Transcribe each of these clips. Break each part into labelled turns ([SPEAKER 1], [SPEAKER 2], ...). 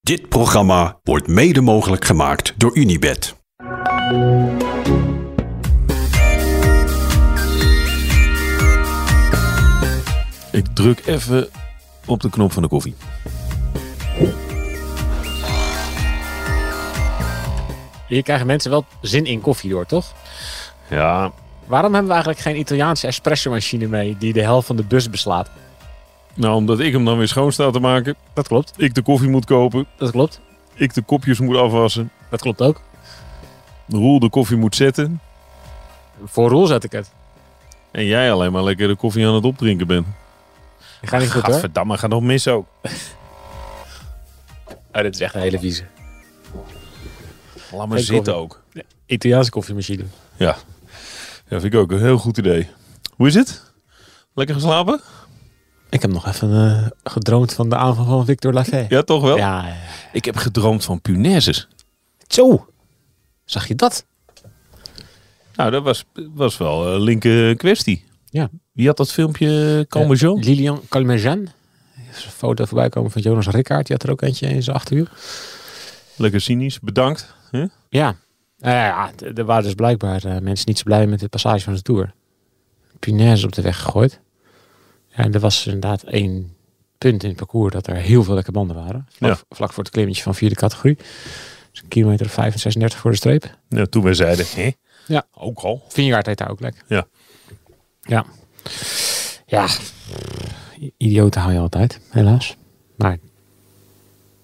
[SPEAKER 1] Dit programma wordt mede mogelijk gemaakt door Unibed.
[SPEAKER 2] Ik druk even op de knop van de koffie.
[SPEAKER 3] Hier krijgen mensen wel zin in koffie door, toch?
[SPEAKER 2] Ja,
[SPEAKER 3] Waarom hebben we eigenlijk geen Italiaanse espresso-machine mee die de helft van de bus beslaat?
[SPEAKER 2] nou omdat ik hem dan weer schoon sta te maken.
[SPEAKER 3] Dat klopt.
[SPEAKER 2] Ik de koffie moet kopen.
[SPEAKER 3] Dat klopt.
[SPEAKER 2] Ik de kopjes moet afwassen.
[SPEAKER 3] Dat klopt ook.
[SPEAKER 2] Roel de koffie moet zetten.
[SPEAKER 3] Voor Roel zet ik het.
[SPEAKER 2] En jij alleen maar lekker de koffie aan het opdrinken bent.
[SPEAKER 3] Dat gaat niet goed, hoor.
[SPEAKER 2] Gadverdamme, gaat nog mis ook.
[SPEAKER 3] Oh, dit is echt een hele vieze.
[SPEAKER 2] Laat maar
[SPEAKER 3] Geen
[SPEAKER 2] zitten
[SPEAKER 3] koffie.
[SPEAKER 2] ook.
[SPEAKER 3] Italiaanse koffiemachine.
[SPEAKER 2] Ja. ja, vind ik ook een heel goed idee. Hoe is het? Lekker geslapen?
[SPEAKER 3] Ik heb nog even eh, gedroomd van de aanval van Victor Lafay.
[SPEAKER 2] Ja, toch wel?
[SPEAKER 3] Ja, eh,
[SPEAKER 2] Ik heb gedroomd van punaises.
[SPEAKER 3] Zo! Zag je dat?
[SPEAKER 2] Nou, dat was, was wel een linker kwestie.
[SPEAKER 3] Ja.
[SPEAKER 2] Wie had dat filmpje komen zo?
[SPEAKER 3] Eh, Lilian Calmejean. Er is een foto voorbij komen van Jonas Rickaard. Die had er ook eentje in zijn achterwiel.
[SPEAKER 2] Lekker cynisch, bedankt. Hè?
[SPEAKER 3] Ja. Nou ja, d- er waren dus blijkbaar eh, mensen niet zo blij met de passage van de Tour. Punaise op de weg gegooid. Ja, en er was inderdaad één punt in het parcours dat er heel veel lekke banden waren. Vlak,
[SPEAKER 2] Ja.
[SPEAKER 3] vlak voor het klimmetje van vierde categorie. Dus een kilometer of 5 en 36 voor de streep.
[SPEAKER 2] Ja, toen wij zeiden, hè?
[SPEAKER 3] Ja.
[SPEAKER 2] Ook al.
[SPEAKER 3] Vingegaard heet daar ook lek.
[SPEAKER 2] Ja.
[SPEAKER 3] Ja. Ja. I- Idioten hou je altijd, helaas. Maar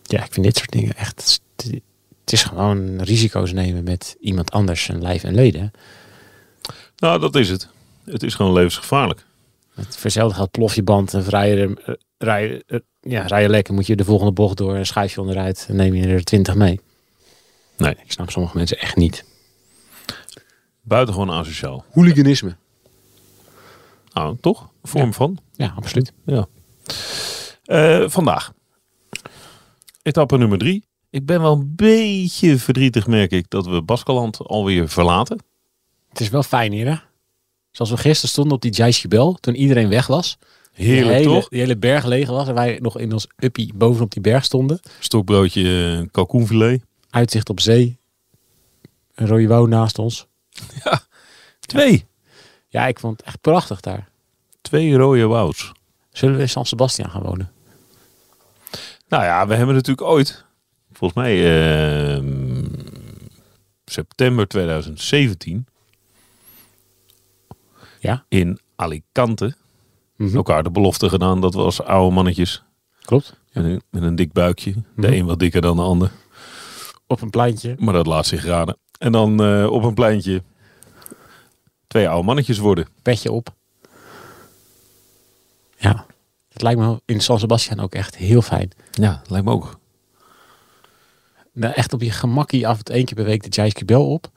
[SPEAKER 3] ja, ik vind dit soort dingen echt... het is- Het is gewoon risico's nemen met iemand anders zijn lijf en leden.
[SPEAKER 2] Nou, dat is het. Het is gewoon levensgevaarlijk.
[SPEAKER 3] Het verzelde gaat plof je band en rij je, er- eh, rij, je- eh, ja, rij je lekker. Moet je de volgende bocht door en schuif je onderuit en neem je er 20 mee.
[SPEAKER 2] Nee.
[SPEAKER 3] Ik snap sommige mensen echt niet.
[SPEAKER 2] Buitengewoon asociaal.
[SPEAKER 3] Hooliganisme.
[SPEAKER 2] Nou, toch? Een Vorm
[SPEAKER 3] Ja.
[SPEAKER 2] van.
[SPEAKER 3] Ja, absoluut.
[SPEAKER 2] Ja. Eh, vandaag. Etappe nummer drie. Ik ben wel een beetje verdrietig, merk ik, dat we Baskeland alweer verlaten.
[SPEAKER 3] Het is wel fijn hier, hè? Zoals we gisteren stonden op die Jaisjebel, toen iedereen weg was.
[SPEAKER 2] Heerlijk,
[SPEAKER 3] die hele,
[SPEAKER 2] toch?
[SPEAKER 3] Die hele berg leeg was en wij nog in ons uppie bovenop die berg stonden.
[SPEAKER 2] Stokbroodje, eh, kalkoenfilet.
[SPEAKER 3] Uitzicht op zee. Een rode wouw naast ons.
[SPEAKER 2] Twee.
[SPEAKER 3] Ja, ik vond het echt prachtig daar.
[SPEAKER 2] Twee rode wouds.
[SPEAKER 3] Zullen we in San Sebastian gaan wonen?
[SPEAKER 2] Nou ja, we hebben natuurlijk ooit, volgens mij ehm, september 2017,
[SPEAKER 3] Ja.
[SPEAKER 2] in Alicante
[SPEAKER 3] Mhm.
[SPEAKER 2] elkaar de belofte gedaan dat we als oude mannetjes
[SPEAKER 3] Klopt.
[SPEAKER 2] met een, met een dik buikje,
[SPEAKER 3] Mhm.
[SPEAKER 2] de een wat dikker dan de ander,
[SPEAKER 3] Op een pleintje.
[SPEAKER 2] maar dat laat zich raden. En dan eh, op een pleintje twee oude mannetjes worden.
[SPEAKER 3] petje op. Ja, het lijkt me in San Sebastian ook echt heel fijn.
[SPEAKER 2] Ja, lijkt me ook.
[SPEAKER 3] Nou, echt op je gemakkie af het één keer per week de Jaiske Bel op.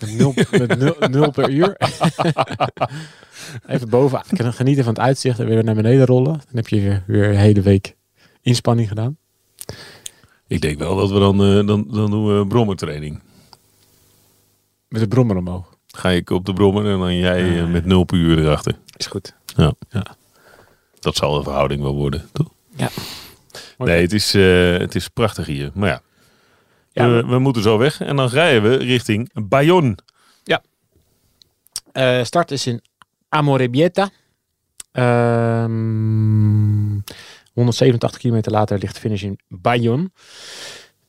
[SPEAKER 3] Met nul, met nul, nul per uur. Even boven kunnen genieten van het uitzicht en weer naar beneden rollen. Dan heb je weer, weer een hele week inspanning gedaan.
[SPEAKER 2] Ik denk wel dat we dan, eh, dan, dan doen we brommertraining.
[SPEAKER 3] Met de brommer omhoog.
[SPEAKER 2] Ga ik op de brommer en dan jij eh, met nul per uur erachter.
[SPEAKER 3] Is goed.
[SPEAKER 2] Ja. Dat zal de verhouding wel worden, toch?
[SPEAKER 3] Ja.
[SPEAKER 2] Nee, het is, eh, het is prachtig hier. Maar ja,
[SPEAKER 3] Ja,
[SPEAKER 2] we, we moeten zo weg. En dan rijden we richting Bayonne.
[SPEAKER 3] Eh, start is in Amorebieta. Ehm 187 kilometer later ligt de finish in Bayonne.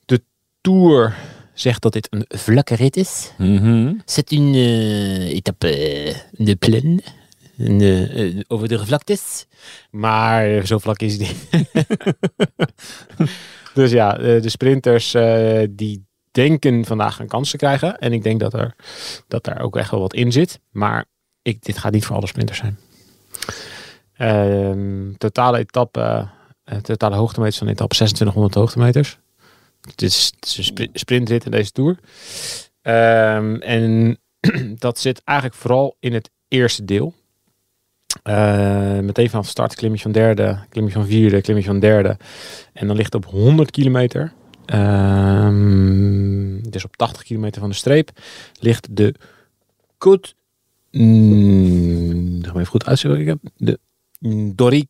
[SPEAKER 3] De Tour zegt dat dit een vlakke rit is.
[SPEAKER 2] Mhm.
[SPEAKER 3] C'est une euh, étape euh, de plaine. Een, eh, eh, over de gevlaktes. Maar zo vlak is het niet. dus ja, eh, de sprinters eh, die denken vandaag een kans te krijgen. En ik denk dat, er, dat daar ook echt wel wat in zit. Maar ik, dit gaat niet voor alle sprinters zijn. Ehm, totale etappe, eh, totale hoogtemeters van de etappe 2600 hoogtemeters. Het is, het is een spri- sprintrit in deze Tour. Ehm, en dat zit eigenlijk vooral in het eerste deel. Eh, meteen van start, klimmetje van derde, klimmetje van vierde, klimmetje van derde. En dan ligt het op 100 kilometer. Ehm, dus op 80 kilometer van de streep ligt de Kut. Mm, ga maar even goed uitzoeken. wat ik heb. De Dori,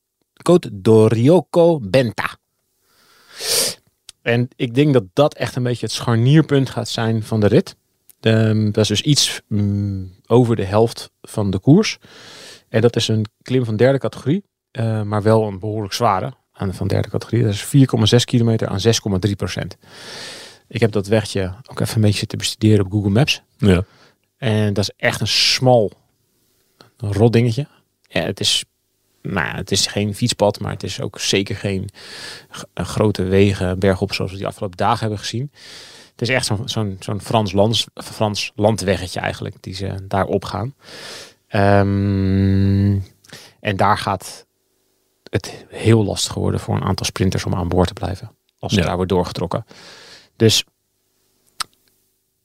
[SPEAKER 3] Côte Dorioco Benta. En ik denk dat dat echt een beetje het scharnierpunt gaat zijn van de rit. Ehm, dat is dus iets mm, over de helft van de koers. En dat is een klim van derde categorie, eh, maar wel een behoorlijk zware aan van derde categorie. Dat is 4,6 kilometer aan 6,3 procent. Ik heb dat wegje ook even een beetje te bestuderen op Google Maps.
[SPEAKER 2] Ja.
[SPEAKER 3] En dat is echt een smal rot dingetje. Ja, het is, nou, ja, het is geen fietspad, maar het is ook zeker geen g- eh, grote wegen bergop zoals we die afgelopen dagen hebben gezien. Het is echt zo'n zo'n zo'n Frans, lands, Frans landweggetje eigenlijk, die ze daar opgaan. Ehm, en daar gaat het heel lastig worden voor een aantal sprinters om aan boord te blijven. Als ze
[SPEAKER 2] Ja.
[SPEAKER 3] daar wordt doorgetrokken. Dus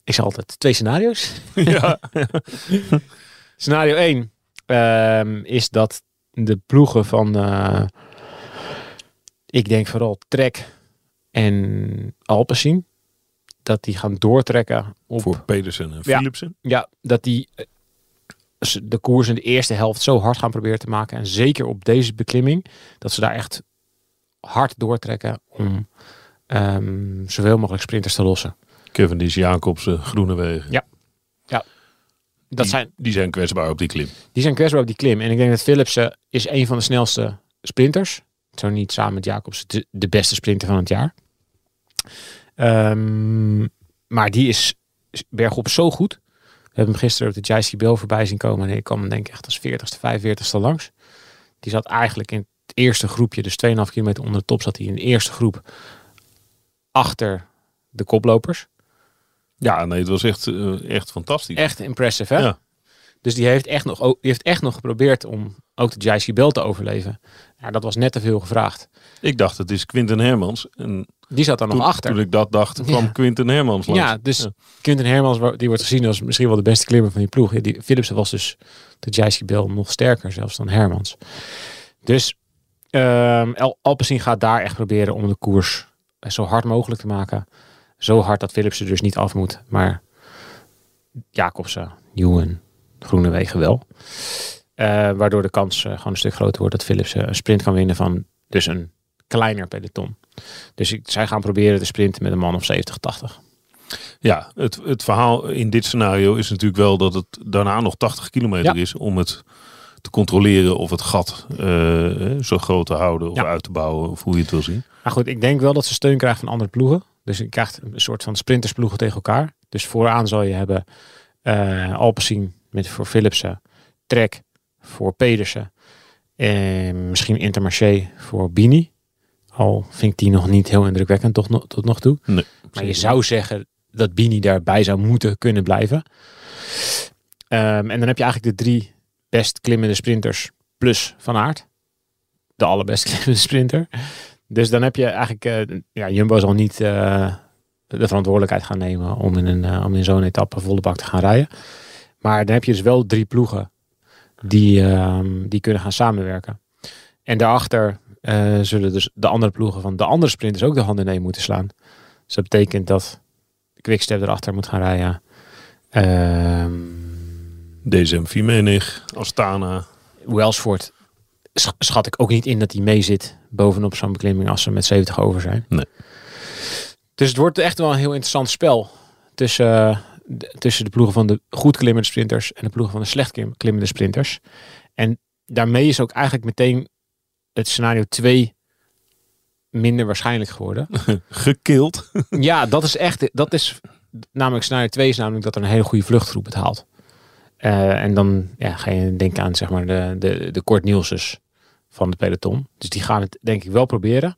[SPEAKER 3] ik zeg altijd twee scenario's.
[SPEAKER 2] ja.
[SPEAKER 3] Scenario 1 ehm, is dat de ploegen van, eh, ik denk vooral Trek en Alpecin, dat die gaan doortrekken op,
[SPEAKER 2] Voor Pedersen en
[SPEAKER 3] Ja.
[SPEAKER 2] Philipsen.
[SPEAKER 3] ja, dat die eh, ze de koers in de eerste helft zo hard gaan proberen te maken. En zeker op deze beklimming, dat ze daar echt hard doortrekken om ehm, zoveel mogelijk sprinters te lossen.
[SPEAKER 2] Kevin Dies, Jacobsen, Groenewegen.
[SPEAKER 3] Dat
[SPEAKER 2] die,
[SPEAKER 3] zijn,
[SPEAKER 2] die zijn kwetsbaar op die klim.
[SPEAKER 3] Die zijn kwetsbaar op die klim. En ik denk dat Philipsen is een van de snelste sprinters. Zo niet samen met Jacobs de, de beste sprinter van het jaar. Ehm, maar die is is bergop zo goed. We hebben hem gisteren op de JC Bell voorbij zien komen. En ik kwam hem denk ik echt als 40ste, 45ste langs. Die zat eigenlijk in het eerste groepje. Dus 2,5 kilometer onder de top zat hij in de eerste groep. Achter de koplopers.
[SPEAKER 2] Ja, nee, het was echt, eh, echt fantastisch.
[SPEAKER 3] Echt impressive, hè?
[SPEAKER 2] Ja.
[SPEAKER 3] Dus die heeft echt nog, o- die heeft echt nog geprobeerd om ook de JC Bell te overleven. Ja, dat was net te veel gevraagd.
[SPEAKER 2] Ik dacht, het is Quinten Hermans. En
[SPEAKER 3] Die zat daar nog
[SPEAKER 2] toen,
[SPEAKER 3] achter.
[SPEAKER 2] toen ik dat dacht, kwam
[SPEAKER 3] Ja.
[SPEAKER 2] Quinten Hermans langs.
[SPEAKER 3] Ja, dus Quinten Hermans, wa- die wordt gezien als misschien wel de beste klimmer van die ploeg. Ja, die, Philipsen was dus de JC Bell nog sterker zelfs dan Hermans. Dus ehm Al Alpecin gaat daar echt proberen om de koers eh, zo hard mogelijk te maken. Zo hard dat Philipsen dus niet af moet. Maar Jacobsen, Ewan, Groenewegen wel. Eh, waardoor de kans eh, gewoon een stuk groter wordt dat Philipsen een sprint kan winnen van dus een kleiner peloton. Dus ik, zij gaan proberen te sprinten met een man of 70, 80.
[SPEAKER 2] Ja, het, het verhaal in dit scenario is natuurlijk wel dat het daarna nog 80 kilometer is om het te controleren of het gat eh, eh, zo groot te houden of
[SPEAKER 3] Ja.
[SPEAKER 2] uit te bouwen of hoe je het wil zien.
[SPEAKER 3] Maar goed, ik denk wel dat ze steun krijgt van andere ploegen. Dus je krijgt een soort van sprintersploegen tegen elkaar. Dus vooraan zal je hebben eh Alpecin met voor Philipsen, Trek voor Pedersen en misschien Intermarché voor Bini. Al vind ik die nog niet heel indrukwekkend tot, no- tot nog toe.
[SPEAKER 2] Nee,
[SPEAKER 3] maar je zou zeggen dat Bini daarbij zou moeten kunnen blijven. Ehm, en dan heb je eigenlijk de drie best klimmende sprinters plus Van Aert. De allerbest klimmende sprinter. Dus dan heb je eigenlijk, eh, ja, Jumbo zal niet eh, de verantwoordelijkheid gaan nemen om in, een, eh, om in zo'n etappe volle bak te gaan rijden. Maar dan heb je dus wel drie ploegen die, ehm, die kunnen gaan samenwerken. En daarachter eh, zullen dus de andere ploegen van de andere sprinters ook de handen neer moeten slaan. Dus dat betekent dat Quickstep erachter moet gaan rijden. Ehm
[SPEAKER 2] DSM Vimenig, Astana.
[SPEAKER 3] Wellsford sch- schat ik ook niet in dat hij mee zit bovenop zo'n beklimming als ze met 70 over zijn.
[SPEAKER 2] Nee.
[SPEAKER 3] Dus het wordt echt wel een heel interessant spel tussen, eh, de, tussen de ploegen van de goed klimmende sprinters en de ploegen van de slecht klim- klimmende sprinters. En daarmee is ook eigenlijk meteen het scenario 2 minder waarschijnlijk geworden.
[SPEAKER 2] Gekild.
[SPEAKER 3] Ja, dat is echt. Dat is namelijk scenario 2 is namelijk dat er een hele goede vluchtgroep het haalt. Eh, en dan ja, ga je denken aan zeg maar de, de, de Kort Nielsens van de peloton. Dus die gaan het denk ik wel proberen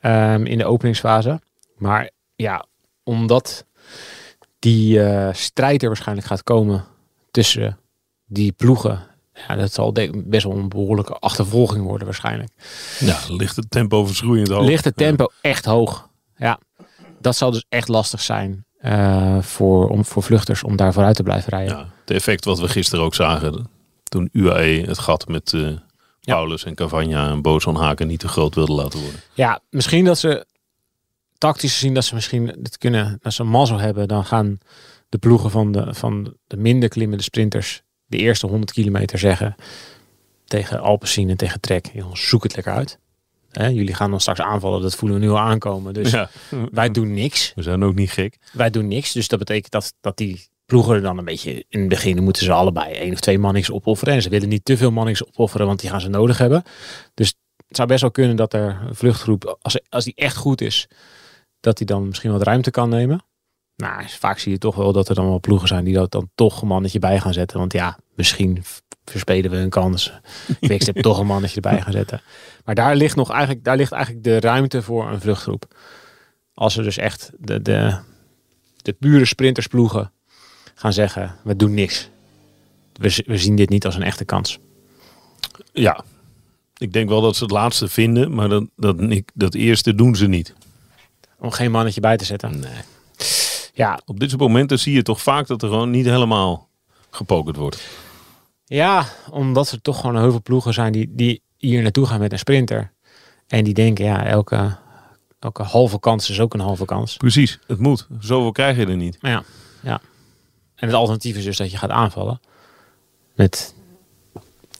[SPEAKER 3] ehm, in de openingsfase. Maar ja, omdat die eh, strijd er waarschijnlijk gaat komen tussen die ploegen. Ja, dat zal denk ik best wel een behoorlijke achtervolging worden waarschijnlijk
[SPEAKER 2] Ja, ligt het tempo verschroeiend hoog.
[SPEAKER 3] ligt het tempo echt hoog. Ja, dat zal dus echt lastig zijn eh, voor, om, voor vluchters om daar vooruit te blijven rijden.
[SPEAKER 2] Ja, het effect wat we gisteren ook zagen. Toen UAE het gat met eh, Paulus en Cavagna en Boson Haken niet te groot wilde laten worden.
[SPEAKER 3] Ja, misschien dat ze tactisch gezien dat ze misschien het kunnen, als ze een mazzel hebben, dan gaan de ploegen van de, van de minder klimmende sprinters de eerste 100 kilometer zeggen tegen Alpecin en tegen Trek, jongens, zoek het lekker uit. Hè, jullie gaan dan straks aanvallen, dat voelen we nu al aankomen. Dus
[SPEAKER 2] ja.
[SPEAKER 3] wij doen niks.
[SPEAKER 2] We zijn ook niet gek.
[SPEAKER 3] Wij doen niks. Dus dat betekent dat, dat die ploegen er dan een beetje in het begin moeten ze allebei één of twee mannings opofferen. En ze willen niet te veel mannings opofferen, want die gaan ze nodig hebben. Dus het zou best wel kunnen dat er een vluchtgroep, als, als die echt goed is, dat die dan misschien wat ruimte kan nemen. Nou, vaak zie je toch wel dat er dan wel ploegen zijn die dat dan toch een mannetje bij gaan zetten. Want ja, misschien v- verspelen we een kans. Ik heb toch een mannetje erbij gaan zetten. Maar daar ligt nog eigenlijk, daar ligt eigenlijk de ruimte voor een vluchtgroep. Als er dus echt de, de, de pure sprintersploegen gaan zeggen, we doen niks. We, z- we zien dit niet als een echte kans.
[SPEAKER 2] Ja. Ik denk wel dat ze het laatste vinden, maar dat, dat, ik- dat eerste doen ze niet.
[SPEAKER 3] Om geen mannetje bij te zetten. Nee. Ja,
[SPEAKER 2] Op dit soort momenten zie je toch vaak dat er gewoon niet helemaal gepokerd wordt.
[SPEAKER 3] Ja, omdat er toch gewoon heel veel ploegen zijn die, die hier naartoe gaan met een sprinter. En die denken, ja, elke, elke halve kans is ook een halve kans.
[SPEAKER 2] Precies, het moet. Zoveel krijg je er niet.
[SPEAKER 3] Maar ja, ja. En het alternatief is dus dat je gaat aanvallen. Met,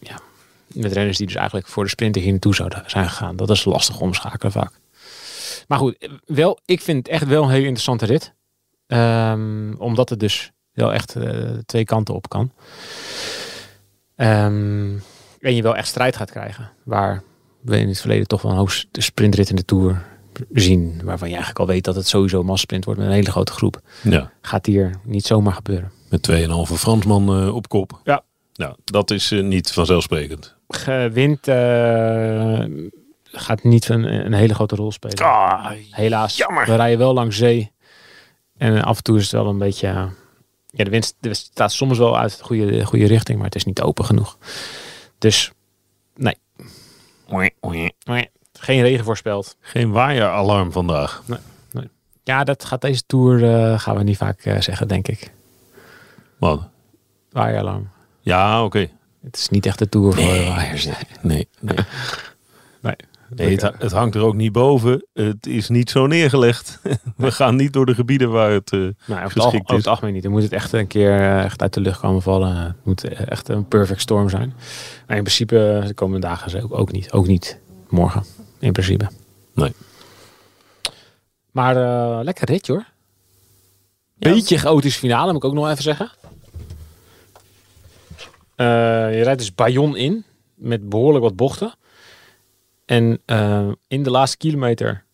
[SPEAKER 3] ja, met renners die dus eigenlijk voor de sprinter hier naartoe zouden zijn gegaan. Dat is lastig omschakelen vaak. Maar goed, wel, ik vind het echt wel een hele interessante rit. Ehm, omdat het dus wel echt eh, twee kanten op kan. Ehm, en je wel echt strijd gaat krijgen. Waar we in het verleden toch wel een hoogst de sprintrit in de Tour zien. Waarvan je eigenlijk al weet dat het sowieso een massasprint wordt met een hele grote groep
[SPEAKER 2] Ja.
[SPEAKER 3] gaat hier niet zomaar gebeuren.
[SPEAKER 2] Met 2,5 Fransman eh, op kop.
[SPEAKER 3] Ja.
[SPEAKER 2] Nou, dat is eh, niet vanzelfsprekend.
[SPEAKER 3] Gewint eh, gaat niet een, een hele grote rol spelen.
[SPEAKER 2] Ah,
[SPEAKER 3] Helaas. We rijden wel langs zee. En af en toe is het wel een beetje... eh, ja, de wind de wind staat soms wel uit de goede, de goede richting, maar het is niet open genoeg. Dus, nee. Geen regen voorspeld.
[SPEAKER 2] Geen waaieralarm vandaag.
[SPEAKER 3] Ja, dat gaat deze tour eh, gaan we niet vaak eh, zeggen, denk ik.
[SPEAKER 2] Man.
[SPEAKER 3] Waaierlang.
[SPEAKER 2] Ja, oké.
[SPEAKER 3] Het is niet echt de tour voor eh, waaiers.
[SPEAKER 2] Nee. Nee.
[SPEAKER 3] Nee.
[SPEAKER 2] Nee, het, ha- het hangt er ook niet boven. Het is niet zo neergelegd. We gaan niet door de gebieden waar het. eh,
[SPEAKER 3] Nou, over het,
[SPEAKER 2] Geschikt
[SPEAKER 3] algemeen, over
[SPEAKER 2] is.
[SPEAKER 3] het algemeen niet. Dan moet het echt een keer eh, echt uit de lucht komen vallen. Het moet eh, echt een perfect storm zijn. Maar in principe eh, de komende dagen ze ook, ook niet. Ook niet morgen, in principe.
[SPEAKER 2] Nee.
[SPEAKER 3] Maar eh, lekker ritje hoor. Beetje chaotisch finale, moet ik ook nog even zeggen. Eh, je rijdt dus Bayon in, met behoorlijk wat bochten. En eh, in de laatste kilometer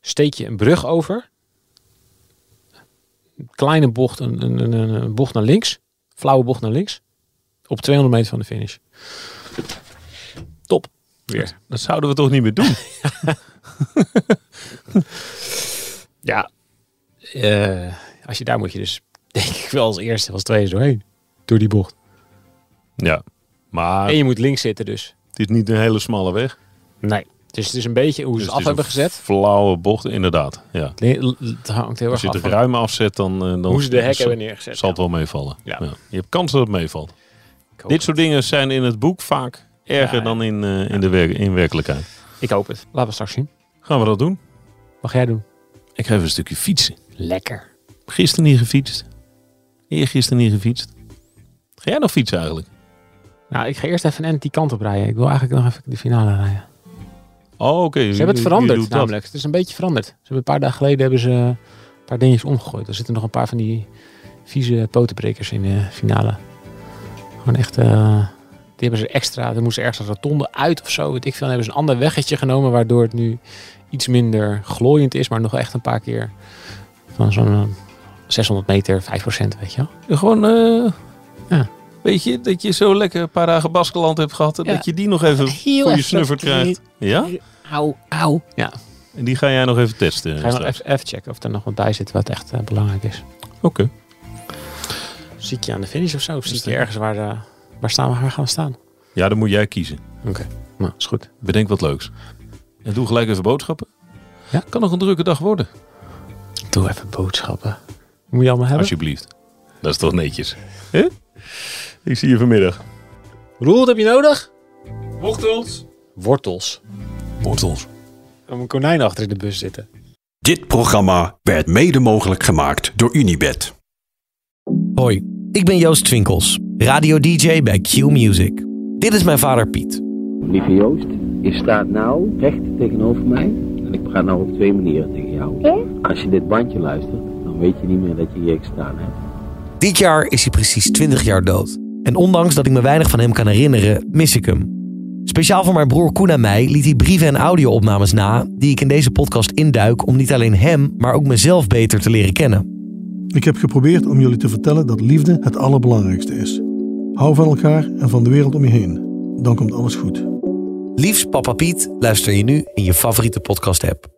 [SPEAKER 3] steek je een brug over. Een kleine bocht, een, een, een, een- een bocht naar links. Flauwe bocht naar links. Op 200 meter van de finish. Top. Weer.
[SPEAKER 2] Dat zouden we toch niet meer doen?
[SPEAKER 3] Ja. Eh, als je daar moet je dus, denk ik wel als eerste, als tweede doorheen. Door die bocht.
[SPEAKER 2] ja. Maar
[SPEAKER 3] En je moet links zitten dus.
[SPEAKER 2] het is niet een hele smalle weg.
[SPEAKER 3] Nee. Dus het is een beetje hoe ze
[SPEAKER 2] Dus
[SPEAKER 3] het
[SPEAKER 2] het
[SPEAKER 3] af
[SPEAKER 2] is
[SPEAKER 3] hebben
[SPEAKER 2] een
[SPEAKER 3] gezet.
[SPEAKER 2] Flauwe bocht, inderdaad. Ja.
[SPEAKER 3] Het hangt heel
[SPEAKER 2] Als
[SPEAKER 3] erg
[SPEAKER 2] je
[SPEAKER 3] af
[SPEAKER 2] het
[SPEAKER 3] van
[SPEAKER 2] ruim afzet, dan, eh, dan
[SPEAKER 3] hoe ze de hek
[SPEAKER 2] zal-
[SPEAKER 3] hebben neergezet.
[SPEAKER 2] zal het wel meevallen.
[SPEAKER 3] Ja.
[SPEAKER 2] Je hebt kans dat het meevalt.
[SPEAKER 3] Ik hoop
[SPEAKER 2] Dit soort dingen zijn in het boek vaak erger
[SPEAKER 3] Ja,
[SPEAKER 2] dan in, eh, in, de wer- in werkelijkheid.
[SPEAKER 3] het. Ik hoop het. Laten we straks zien.
[SPEAKER 2] Gaan we dat doen?
[SPEAKER 3] Mag jij doen?
[SPEAKER 2] Ik ga even een stukje fietsen.
[SPEAKER 3] Lekker.
[SPEAKER 2] Gisteren niet gefietst. Eergisteren niet gefietst. Ga jij nog fietsen eigenlijk?
[SPEAKER 3] Nou, ik ga eerst even een end die kant op rijden. Ik wil eigenlijk nog even de finale rijden.
[SPEAKER 2] Oh, oké.
[SPEAKER 3] Ze hebben het veranderd
[SPEAKER 2] namelijk.
[SPEAKER 3] namelijk. Het is een beetje veranderd. Ze hebben een paar dagen geleden hebben ze eh, een paar dingetjes omgegooid. Er zitten nog een paar van die vieze potenbrekers in de finale. Gewoon echt... eh, die hebben ze extra... Er moesten ergens een rotonde uit of zo. Weet ik veel. Dan hebben ze een ander weggetje genomen... waardoor het nu iets minder glooiend is... maar nog wel echt een paar keer van zo'n eh, 600 meter, 5 weet je wel.
[SPEAKER 2] Gewoon, eh,
[SPEAKER 3] Ja.
[SPEAKER 2] weet je, dat je zo lekker een paar dagen Baskeland hebt gehad. En
[SPEAKER 3] Ja.
[SPEAKER 2] dat je die nog even
[SPEAKER 3] Heel
[SPEAKER 2] voor je
[SPEAKER 3] even Oh,
[SPEAKER 2] snuffer krijgt. Ja?
[SPEAKER 3] Auw, auw. Ja,
[SPEAKER 2] En die ga jij nog even testen.
[SPEAKER 3] ga je nog
[SPEAKER 2] straks.
[SPEAKER 3] even, even checken of er nog wat bij zit wat echt eh, belangrijk is.
[SPEAKER 2] Oké.
[SPEAKER 3] Ziet je aan de finish of zo? Of
[SPEAKER 2] Is
[SPEAKER 3] ziet je
[SPEAKER 2] dat-
[SPEAKER 3] ergens waar, de, waar staan we waar gaan we staan?
[SPEAKER 2] Ja, dan moet jij kiezen.
[SPEAKER 3] Oké, nou, is goed.
[SPEAKER 2] Bedenk wat leuks. En doe gelijk even boodschappen.
[SPEAKER 3] Ja?
[SPEAKER 2] Kan nog een drukke dag worden.
[SPEAKER 3] Doe even boodschappen. Moet je allemaal hebben?
[SPEAKER 2] Alsjeblieft. Dat is toch netjes. Hè? Ik zie je vanmiddag.
[SPEAKER 3] Roel, wat heb je nodig? Wortels. Wortels.
[SPEAKER 2] Wortels.
[SPEAKER 3] Om een konijn achter in de bus zitten.
[SPEAKER 1] Dit programma werd mede mogelijk gemaakt door Unibed.
[SPEAKER 4] Hoi, ik ben Joost Twinkels, radio-dj bij Q-Music. Dit is mijn vader Piet.
[SPEAKER 5] Lieve Joost, Je staat nou recht tegenover mij en ik praat nou op twee manieren tegen jou. Als je dit bandje luistert, dan weet je niet meer dat je hier gestaan hebt.
[SPEAKER 4] Dit jaar is hij precies 20 jaar dood. En ondanks dat ik me weinig van hem kan herinneren, mis ik hem. Speciaal voor mijn broer Koen en mij liet hij brieven en audio-opnames na... die ik in deze podcast induik om niet alleen hem, maar ook mezelf beter te leren kennen.
[SPEAKER 6] Ik heb geprobeerd om jullie te vertellen dat liefde het allerbelangrijkste is. Hou van elkaar en van de wereld om je heen. Dan komt alles goed.
[SPEAKER 4] Liefst Papa Piet luister je nu in je favoriete podcast-app.